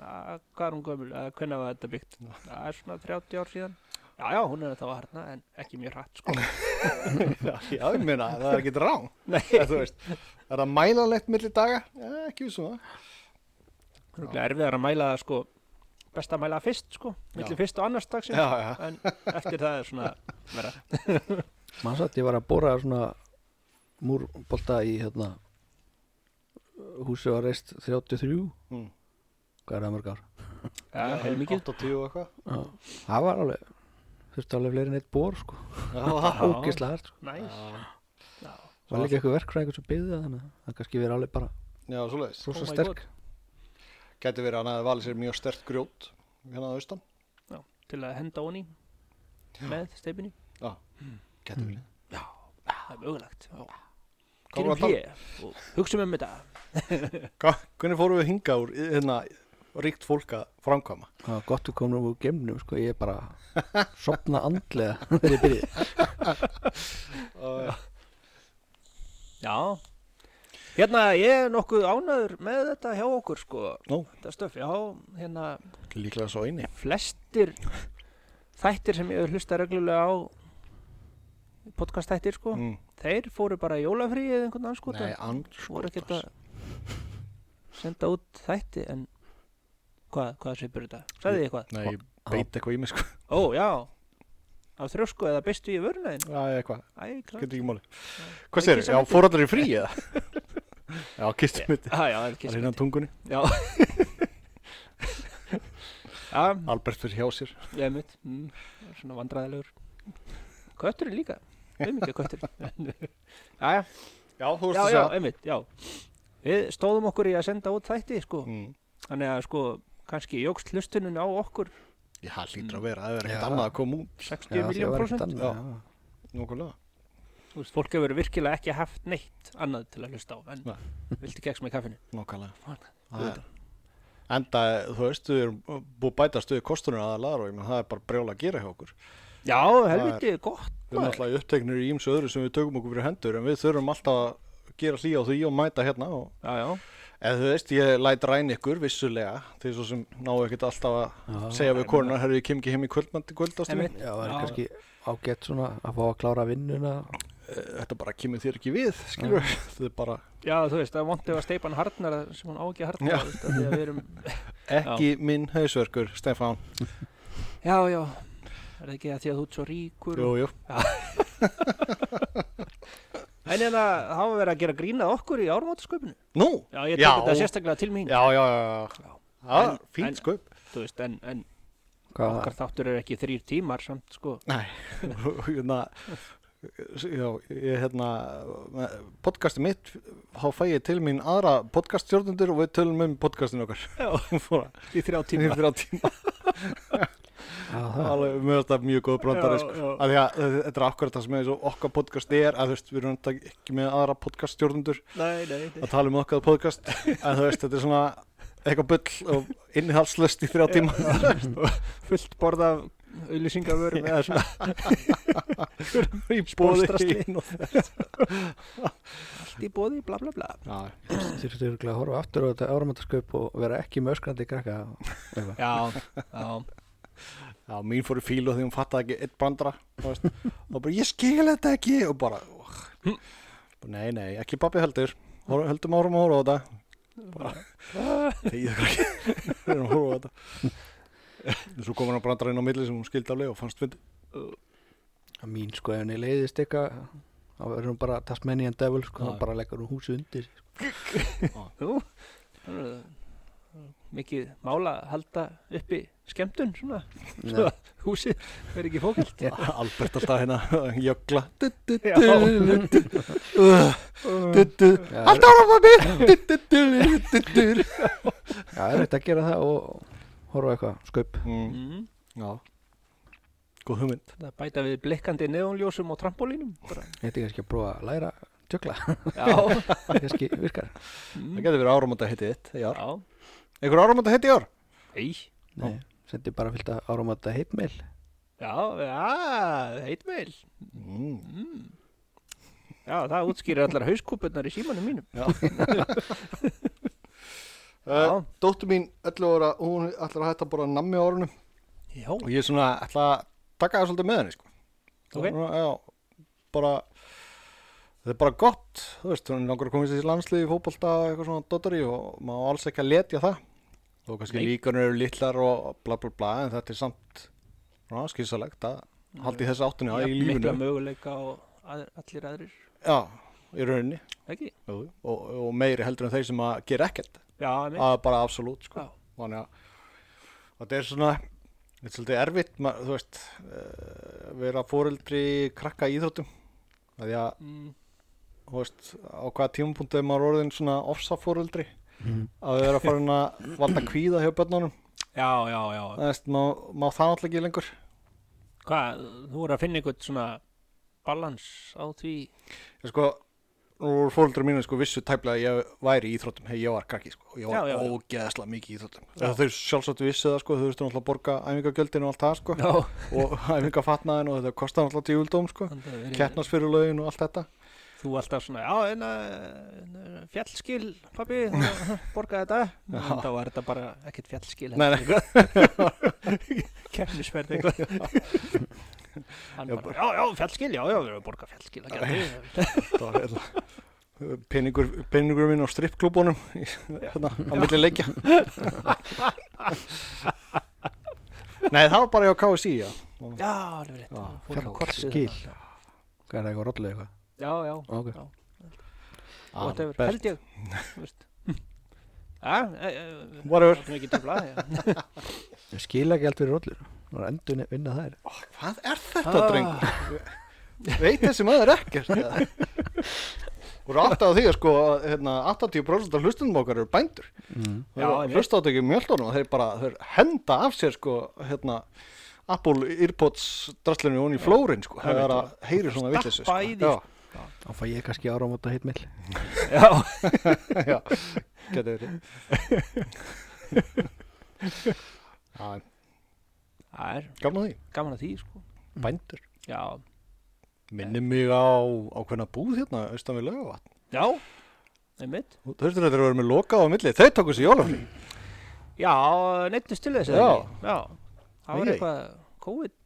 "Ah, Hvað er hún gömul? Ah, Hvenær var þetta byggt? Það er svona 30 ár síðan Já, já, hún er ennþá að harna en ekki mjög hratt sko <laughs> Já, já, ég meina, það er ekki rán Nei, Þú veist, er það mælanlegt milli daga? Eh, Ekki vissum það Rúglega erfiðar að mæla það sko best að mæla það fyrst sko milli Já. fyrst og annars dagsins Já, já, en eftir það er svona vera Man satt ég var að bóra svona múrbolta í hérna húsi var reist 33 Mm. hvað er það mörg ár? ja, heilmikið 80 og <laughs> eitthvað Já. Það var alveg þurfti alveg fleiri en eitt bór sko Já, Já. ógislega hært sko. næs Já. Já. Það var líka eitthvað verkfræðingur sem byggði það þannig að það kannski verið alveg bara Já, svoleiðis svo Oh my sterk Gæti verið að hann hafi valið sér mjög stert grjót hérna að austan til að henda honi með steipinni Gæti verið það er mögulegt já. vorum gerum að tala- hlýja og hugsa um þetta Hva, hvernig fórum við hingað úr hérna, ríkt fólk að framkvæma? Það var gott við komum úr gemnum sko ég er bara sopna andlega <laughs> þegar ég byrjaði Uh, já hérna ég er nokkuð ánæður með þetta hjá okkur sko Nú. þetta stöf já hérna Líklega svo eini. flestir þættir sem ég hef hlusta reglulega á podcast þættir sko Mm. þeir fóru bara í jólafrí eða einhvern annan sko Nei, and, voru ekkert að senda út þætti en hvað, hvað svipur þetta? Sæði þið eitthvað? nei, ég beit eitthvað í mig sko. Ó, já af þrjósku eða beistu í vörnaðin Já, eitthvað, Æ, klart getur ekki máli. Hvað sér Ekki þið? sem Já, þetta. fór allir í frí <laughs> eða? Já, kistum mitt. ah, Já, ekki Það er sem innan tungunni. Já Já, Albert fyrir hjá sér. ég er mitt mm, svona vandræðilegur Kötturinn líka einmitt er <laughs> kötturinn Já, já, Já, þú já, já, einmitt, já Við stóðum okkur í að senda út þætti sko, Mm. þannig að sko kannski jógst hlustunin á okkur Já, það hlýtur að vera. Það er Já. ekkert annað að koma út. 60 miljón prosent Já. Já, Nókulega. Þú veist, fólk hefur virkilega ekki haft neitt annað til að hlusta á en Nei. viltu keks með kaffinu? Nókulega. Auðvitað. Enda, þú veist, við erum búið að bæta stuði kostunum aðalara og ég menn það er bara brjóla að gera hjá okkur. Já, helviti, gott Við erum maður. alltaf í uppteknir í ímsu öðru sem við tökum okkur fyrir hendur en við þurfum alltaf að gera hlýja á því og mæta hérna og Já, já, eða þú veist, ég læt ræn ykkur vissulega því svo sem náu ekkert alltaf að Já. segja við konuna, herru, ég kem ekki heim í kvöldmandi kvöldastíð, Einmitt. Já, það er Já. kannski ágætt svona að fá að klára vinnuna Eh, þetta bara kemur þér ekki við <laughs> skilur, þetta er bara já, þú veist, það vondið að steipa hann harnar sem hún á ekki að harnar, Já. þú veist, af því að við erum <laughs> ekki minn hausverkur, Stefán Já, já, er það ekki að því að þú ert svo ríkur Jú, jú, En en að hafa verið að gera grínað okkur í ármótasköpinu nú Já, ég Já. tek þetta sérstaklega til mín já, já, já, Já. já. Það En- er fínt en- sko Þú veist, en, en hvað okkar þáttur er ekki þrýr tímar samt, sko Nei, <laughs> og hérna Já, ég hérna podcasti mitt þá fæ ég til mín aðra podcaststjórnundur og við tölum um podcastinu okkar <laughs> Já, Fóra, í þrjá tíma fyrir á tíma Já, það alveg mjög þetta mjög góð brandari Já, sko. já. Af því að þe- þetta er akkurat það sem er svo okkar podcast er að þú veist, við erum þetta ekki með aðra podcaststjórnundur Nei, nei, nei að tala um okkar <laughs> podcast en þú veist, þetta er svona eitthvað bull og innihalslöst í þrjá tíma <laughs> Fullt borð af auðlýsingavörum eða <laughs> svona í Spólstrasli. bóði allt í bóði, bla bla bla Já, þurfti örgulega að horfa aftur á þetta áramöndaskaup og vera ekki með öskrandi krakka og eitthvað. Já, já Já, mín fór í fílu því hún fattaði ekki eitt brandara þú veist. og bara, ég skil þetta ekki og bara, oh. nei, nei, ekki pappi heldur Hor- höldum árum að horfa á þetta þegar það ekki <laughs> við erum að horfa á þetta en svo kom hann að brandara inn á milli sem hún skildi aflega og fannst fyndi Að mín sko ef henni leiðist eitthvað þá verður hún bara Tasmanian Devil sko, þá Já. bara leggur hún húsið undir Jú, það er uh, mikið mála að halda uppi skemmtun svona, svo Nei. að húsið verður ekki fókalt. Albert alltaf hérna að jökla Du, du, <laughs> Já. Mm. du, du, du, du, du. Já. alltaf árum <laughs> að byrja Já, er þetta að gera það og horfa á eitthvað skaup Mm. Já Mm. Góð hugmynd. Það bæta við blikkandi neónljósum og trampolínum bara. Þetta er kannski að prófa að læra að tjökla <laughs> Já, kannski virkar Það getur verið áramönda heitið þitt í ár. já. Einhver áramönda heitið í ár? Í. Nei, sendi bara fyllt að áramata heitmeil Já, já, heitmeil Mm. Já, það útskýrir allar hauskúpunar í símanum mínum <laughs> Uh, Já. Dóttur Eh, mín, 11 ára, hún ætlar að hætta að bora nammi á árunum Já, og ég er svona ætla að taka það svolítið með henni sko. Ok. Svona, já, bara, þetta er bara gott, þú veist, hún langar að koma í þessi landslið í fótbolta og eitthvað svona dottari og maður á alls ekki að letja það. Þó kannski Nei. líkanur eru litlar og bla bla bla en þetta er samt svona, skýrsalegt að haldi þessi áttunni að í Jafn mikla lífinu. möguleika og að, allir aðrir Já, í rauninni Ekki? Jú, jú. og, og meiri heldur en þeir sem að gera ekkert. Já, nei að bara absolutt sko. Já. þannig að þetta er svona þetta er svolítið erfitt ma- þú veist uh, vera fóreldri krakka í íþróttum af því að mm, þú veist á hvaða tímapunktu er maður orðin svona ofsa fóreldri Mhm. að vera farin að valda kvíða hjá börnunum Já, já, já það veist má, má það náttúrulega ekki lengur Hvað, þú voru að finna einhvern svona balans á því ég sko nú voru fóreldri mínu sko vissu tæplega að ég væri í íþróttum hei ég var krakki sko og ég Já, var já, já. ógeðslega mikið í íþróttum Eða þau sjálfsagt vissu það sko þau þurftu náttúrulega að borga æfingagjöldin og allt það sko Já, og <laughs> æfingafatnaðin og þetta kostar alltaf tíuldóm sko, þannig að verið- keppnarsfyrirlaugin og allt þetta Þú alltaf svona, já, en að fjallskil, <laughs> pappi, borga þetta. Já. En þá var þetta bara ekkert fjallskil. Nei, nei. <laughs> <laughs> Kefnisverð eitthvað. Hann Já, bara, já, já, fjallskil, já, já, við erum að borga fjallskil. það gæti verið." þetta var hérna peningur, peningur minn á strippklúbunum í- hérna, á milli leikja Nei, það var bara hjá KSI, já Já, alveg rétt. Já, Fór hann á korsið fjallskil. þarna. Hvað er það eitthvað rollu eitthvað? Já, já, Ok. Já. Albert. Ah, whatever, held ég. þú <laughs> veist. Já, e- e- Whatever. það er ekki töfla, já. Ég skila ekki allt fyrir rollur Það var endur vinna þær Hvað er þetta, Ah. drengur? Veit þessi maður ekkert eða? Þú eru átt á því að sko að, hérna, 80% af hlustundum okkar eru bændur mm. Já, Þeir einmitt. hlusta á þetta ekki mjöldunum og þeir bara þeir henda af sér sko hérna Apple Earpods drastlinu hún í flórin sko það er að heyri svona vitlis sko. Stappa í því, Já, Þá fæ ég kannski áramata heitmeil Já, já, sko. <laughs> getur verið Já, það er gaman að því, gaman að því, sko. bændur Já, Minni mig á ákveðna búð hérna austan við laugavatn já, einmitt. Þú veistur þetta er að vera með lokað á milli þeir tóku sér jólafri Já, neittist til þess eða Já. ekki? Já, það var Æi. eitthvað COVID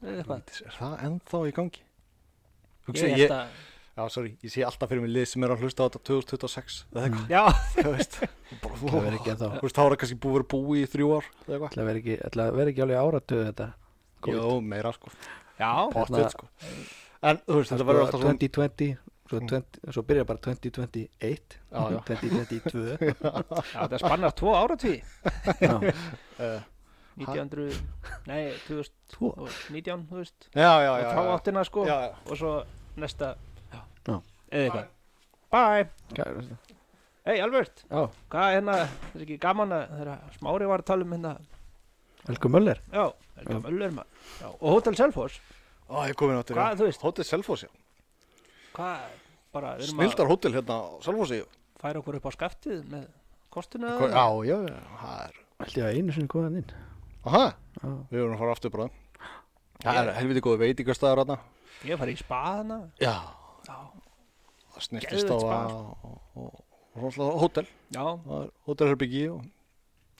eða eitthvað Er það ennþá í gangi? Hugsa, Ég ég, held að, Já, sorry, ég sé alltaf fyrir mig lið sem er að hlusta á þetta 2026 eða eitthvað já, þú <laughs> veist bara, Það verður ekki ennþá Þú veist, þá er það kannski búið að vera búið í þrjú ár eða eitthvað Það verður ekki, ætli það verði ekki alveg áratöðu þetta COVID. Jó, meira sko, já, potið Þarna- sko En þú veist, Það þetta sko verður alltaf svona Mm. 2020 Svo, 20, svo byrja bara 2021 Já, já. <laughs> 2022 já, það spannar tvo áratví já. 1900, nei, 2000 Tvo? og 19, þú veist Já, já, já, og þá já, áttina sko já, já. og svo næsta, Já. já, eða eitthvað Bye, Hvað- hei Albert, já. hvað er hérna, það er ekki gaman að þegar Smári var að tala um hérna Helgu Möller Já, Helga Möller maður Já, og Hotel Selfoss, Ó, ég kom inn áttir Hvað, þú veist? Hótel Selfossi, hvað, bara við erum að snildar hótel hérna á Selfossi færa okkur upp á skaftið með kostuna Hva- Já, já, já, það er Held ég að einu sinni komaðan <laughs> inn Aha, Já. við vorum að fara aftur bara Það er helviti góð veitingastæður hérna Ég fari í spaðana Já, Já, það snirtist á Geðveikt spa. og Rónslega hótel, já það er hótelherbyggi og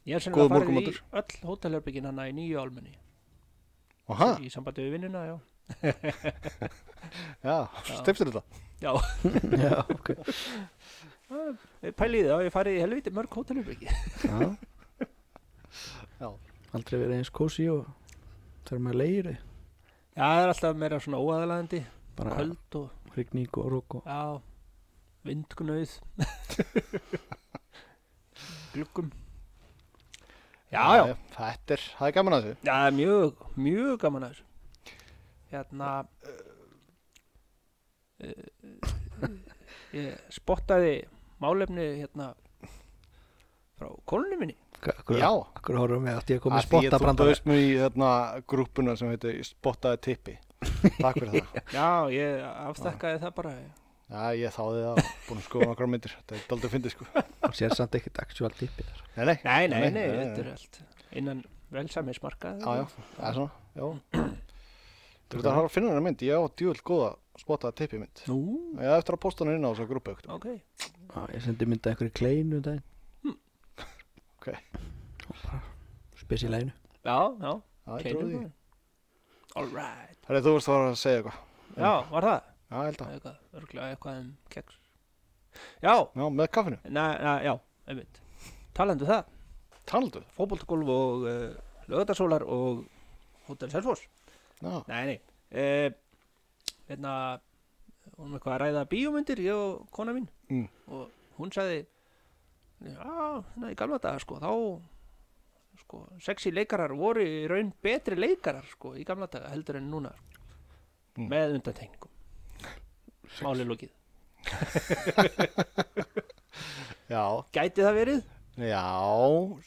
Ég er sem Góður að fara í morgunmatur. öll hótelherbyggin hana í nýju álmunni Aha, í sambandi við vinnuna, já já, stefstir þetta Já, Já, ok pælið þá, ég farið í helviti mörg hótelherbyggi já. Já. Aldrei verið eins kósi og þegar maður leir <laughs> Já, það er alltaf meira svona óaðalagandi bara köld og, hrigning og rók og já, vindgnauð gluggum Já, já, Þetta er, það er gaman að þessu já, það er mjög, mjög gaman að þessu Hérna eh, Ég spottaði málefni hérna frá konunni minni Akkur, Já. Akkur horfum við að ég kom Að því að með spotta þú brandara bauðst mér í hérna, grúppuna sem heitir spottaði tippi Takk fyrir <laughs> það Já, ég afstakkaði það bara Já, ég þáði það og búin að skoða nokkra myndir Þetta er daldið fyndið sko Hún sér samt ekkert actual tippi þar Nei, nei, Nei, nei, nei, nei, þetta er allt innan velsæmismarka Já, já, það er svona Já Þú veit að fara að finna hennar mynd Ég á djúvel góða spottaði tippi mynd Nú, Ég á eftir að posta hennar inn á þessa grúppu okay. ok Já, Ég sendi mynda einhverju kleinu um daginn Hm. Ok. Og bara Spes í læginu Já, já, Það er keinum dróðið það All right Herri, þú veist að fara að segja eitthvað Já, var það? Já, ég held að Eitthvað, örgulega eitthvað um keks Já, Já, með kaffinu na, na, já, einmitt Talandu það, Taldu fótboltagólf og uh, lögðarsólar og Hotel Selfoss Já, Nei, nei eh, Einna Hún var eitthvað að ræða bíómyndir Ég og kona mín Mm. Og hún sagði Já, hérna í gamla daga sko Þá sko, Sexy leikarar voru í raun betri leikarar sko Í gamla daga heldur en núna sko. Mm. Með undantekningum Máli lókið já, Gæti það verið? já,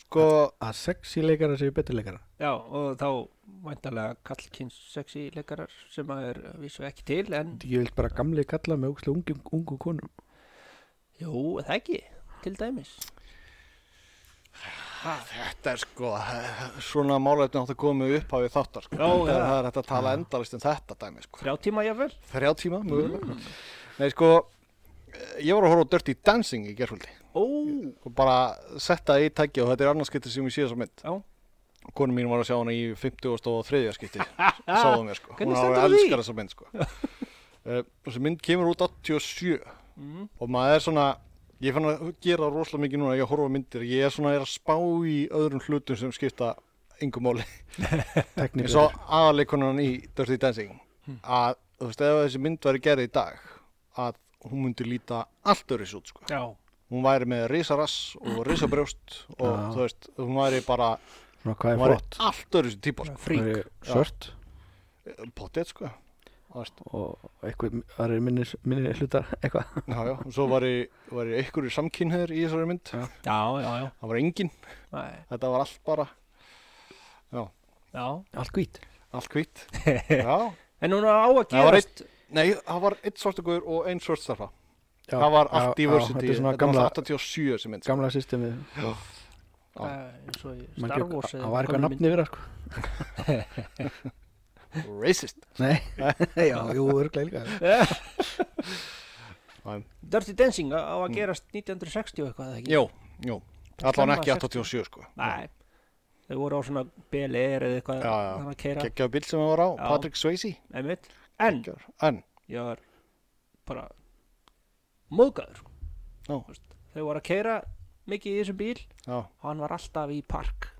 sko Að sexy leikara séu betri leikara Já, og þá væntalega kallkins sexy leikarar sem að er að vísu ekki til en Ég vil bara gamli kalla með ógslega ungum, ungum konum jú, er það ekki, til dæmis Þetta er sko, svona málefni átt að koma með upphafi þáttar sko. Já, það, já. það er hægt að tala endalist um þetta dæmi sko. Þrjá tíma jafnvel Þrjá tíma, mögulega. Nei sko, eh, ég var að horfa á Dirty Dancing í gerfaldi Ó, og bara setta það í tæki og þetta er annars skipti sem ég sé þessa mynd. já Konu mín var að sjá hana í 50 og 3 <laughs> skipti, sáðu mér sko. Hvernig Hún stendur á alveg því? elskar þessa <laughs> mynd sko. Eh, Þessi mynd kemur út 87 Mhm. og maður er svona, ég fann að gera rosalega mikið núna, ég horfa á myndir, ég er svona er að spá í öðrum hlutum sem skipta yngum máli. Teknir eins og aðaleikonan í Dirty Dancing Hmm. að þú veist ef þessi mynd væri gerð í dag að hún myndi líta allt öðru út sko. Já, hún væri með risarass og risabrjóst og Já. þú veist hún væri bara Svona hún hvað er væri flott allt öðru típa sko. frík Hún væri Svört potið sko Þú veist, og eitthvað aðrir minni, minni hlutar eitthvað já, já. og svo væri, væri ykkur í samkynniður í þessari mynd Já. Já, já, já það var engin, Nei, þetta var allt bara Já, allt hvít allt <laughs> hvitt já, en núna á að Það var gerast nei, það var eitt svartugur og einn svartstarfa Já, það var já, allt diversity, já, þetta er svona var gamla, 87 þessi mynd sko. gamla systemið Já. eh, eins og í Man Star gekk- Wars eða það var eitthvað gömlu nafni vera sko sko. racist <laughs> nei, já, jú, örglega líka mynd. Dirty Dancing á á að gerast 1960 og eitthvað eða ekki Mm. Jú, jú, allan Snemma ekki 60. 87 sko Nei, þau voru á svona BLR eða eitthvað Já, já. þannig að keira Gekkjaðu bíl sem við var á, Já. Patrick Swayze einmitt En Geggjaður. En, ég var bara móðgæður sko. Já. Þú veist, Þau voru að keira mikið í þessum bíl já og hann var alltaf í park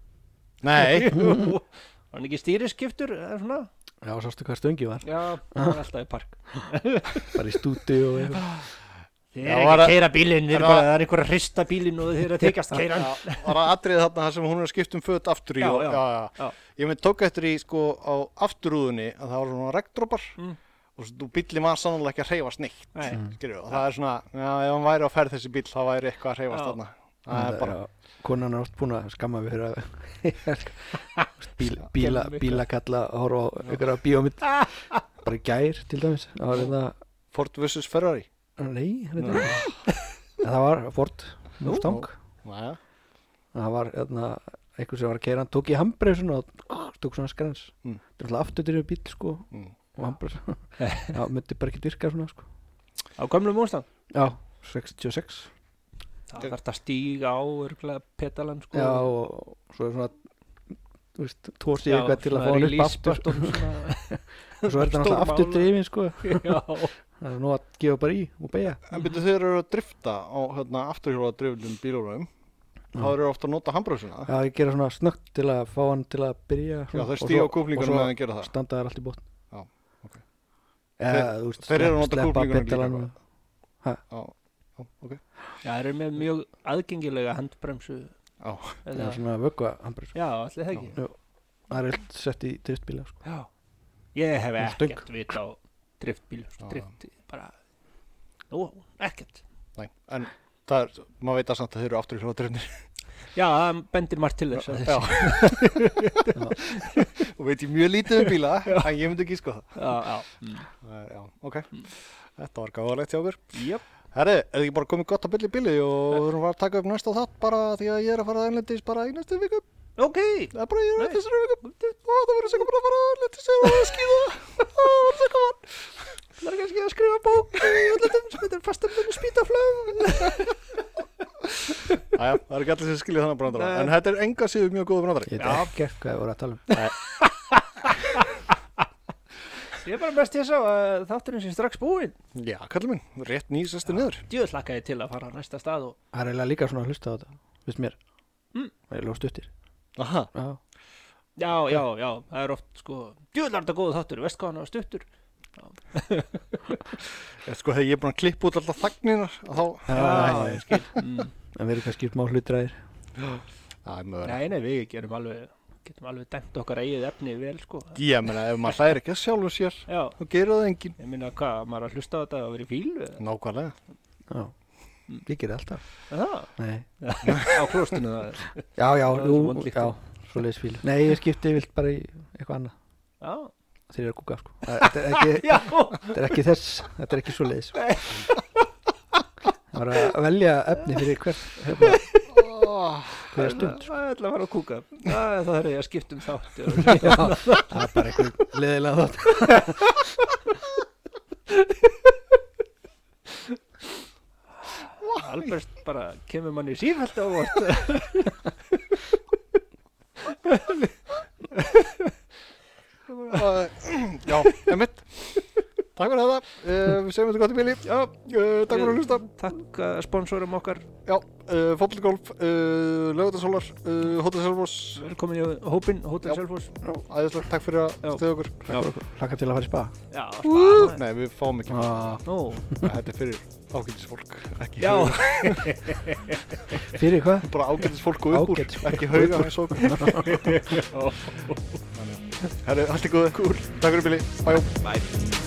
Nei, <laughs> Var hann ekki stýriskiptur eða svona? já, sástu hvað stöngi var Já, hann var alltaf í park bara í stúdi og <laughs> eitthvað Þið Já, er ekki var að að- keira bílinn, þið er var bara, að- það er einhver að hrista bílinn og þið er að tekjast keira <laughs> hann. <laughs> Já, var að atrið þarna þar sem hún er að skipta um föt aftur í Já, og, já, já, já. Ég mynd tók eftir í sko á afturúðunni að það var svona regndropar Mm. og svo bílinn var sannlega ekki að hreyfast neitt Nei. skilurðu, og það er svona, já, ef hann væri á ferð þessi bíl þá væri eitthvað að hreyfast Já. þarna Það er Ah, bara, Já, konan er oft búin að skamma við fyrir að <laughs> bíl, bíla, Gerðum eitthvað. bílakalla að horfa á einhverja <laughs> bíómynd bara í gær til dæmis það var þetta Ford vs. Ferrari nei, þetta er En það var Ford Mustang Næja, það var hérna, einhver sem var að keira hann tók í handbreysun og Ah, tók svona skrens Mm. þetta er alltaf aftur til bíl sko Mm. og <laughs> handbreysun það myndi bara ekki virka svona sko Á gömlu múnstan. já, 66 Það þarf það að stíga á örgulega petalan sko. já og svo er svona þú veist, tósi eitthvað til að fá hann upp aftur aftur. og <laughs> svo er þetta stór alltaf aftur mál. dreifin sko já, það er nú að gefa bara í og beigja en byrju þeir eru að drifta á hérna, afturhjóla driflum bílunum þá eru ofta að nota handbröðsuna já, ég gera svona snöggt til að fá hann til að byrja Já, þeir svona, og stíga á svo- kúflingunum og meðan þeir gera svo það. standa þær allt í botn Já, ok. Eða, Þeir- þú veist, þeir eru að nota sleppa kúflingunum líka, sko. pedalanum. Já, já, ok. það eru með mjög aðgengilega handbremsu. Já, Já, Eða, svona vöggva handbreysun já, allir það ekki. Já. það er allt sett í driftbíla sko. Já. Ég hef Svona stöng. ekkert vit á driftbíl, Já. drift, bara, nú, ekkert. <laughs> næ, en það er, maður veit að samt að þeir eru aftur í hljóðadrifnir. já, það bendir margt til þess að Já. og veit ég mjög lítið um bíla en ég myndi ekki sko það já, já, mm. Það er- já, ok, þetta var gáðalegt hjá okkur Jöp. herri, er þið ekki bara komið gott að byrja í bíli og við erum bara að taka upp næsta þátt bara því að ég er að fara einlendis bara í næstu viku ok, það er bara ég er Nei. að þessari viku og það verður segum bara að fara einlendis og <laughs> skýða og það er gaman það er kannski að skrifa bók í öllutum sem heitir fastemdunni spýtaflög Æja, það er ekki allir sem skilja þannig brandara Nei. en þetta er enga síður mjög góða brandari Ég veit ekkert hvað ég voru að tala um. ég er bara best til þess að eh, þátturinn sé strax búinn já, kallið minn, rétt nýsestir niður djöð hlakka ég til að fara á næsta stað og Það er eiginlega líka svona að hlusta á þetta, veist mér. Mm. Það er lóð stuttir. Aha. Já. já, já, já, það er oft sko djöð landa góðu þáttur, veist hvað hann var stuttur Ég, sko, þegar ég er búin að klippa út alltaf þagninar þá, Já. ég skil mm. En við erum kannski smá hlutræðir. það er mögur nei, nei, við gerum alveg getum alveg dæmt okkar eigið efni vel sko ég meina, ef maður hlæðir ekki að sjálfum sér já, þá gerir það enginn ég minna hvað, maður er að hlusta á þetta og verið fíl eða? nákvæmlega Já. Ég gerði alltaf. það, Nei. á klostinu það er Já, já, er jú, svo vond lykt. já, svo leiðis fílu. Nei, ég skipti vilt bara í eitthvað annað. já, Þeir eru að kúka, sko. Það- Þetta er ekki, <laughs> já, þetta er ekki þess, þetta er ekki svo leiðis. Það var að velja efni fyrir hver, hérna, hverja stund. það er alltaf að fara að kúka það það er ég að skipta um þátt og Já, það er bara einhver leiðilega þátt. Albert bara kemur manni sífælt á vort Uh, já, emitt Takk fyrir þetta, uh, við segjum þetta gott í bíli Já, uh, takk fyrir að hlusta takk uh, sponsorum okkar Já, uh, fótbolgolf, uh, lögutarsólar, uh, hótið Selvós velkomin í hópin, Hotel Já. Selfos Æðislega, takk fyrir að Já. stuða okkur já, Laka til að fara í spa. já, uh, spara Nei, við fáum ekki, Ah, nú, þetta er fyrir ágætisfólk ekki já, fyrir- Fyrir hvað? Bara ágætisfólk og upp úr, Ágætisfólk ekki og upp hauga úr. eins og okkur <laughs> Herru, allt í góðu, takk fyrir bíli, bæjó bye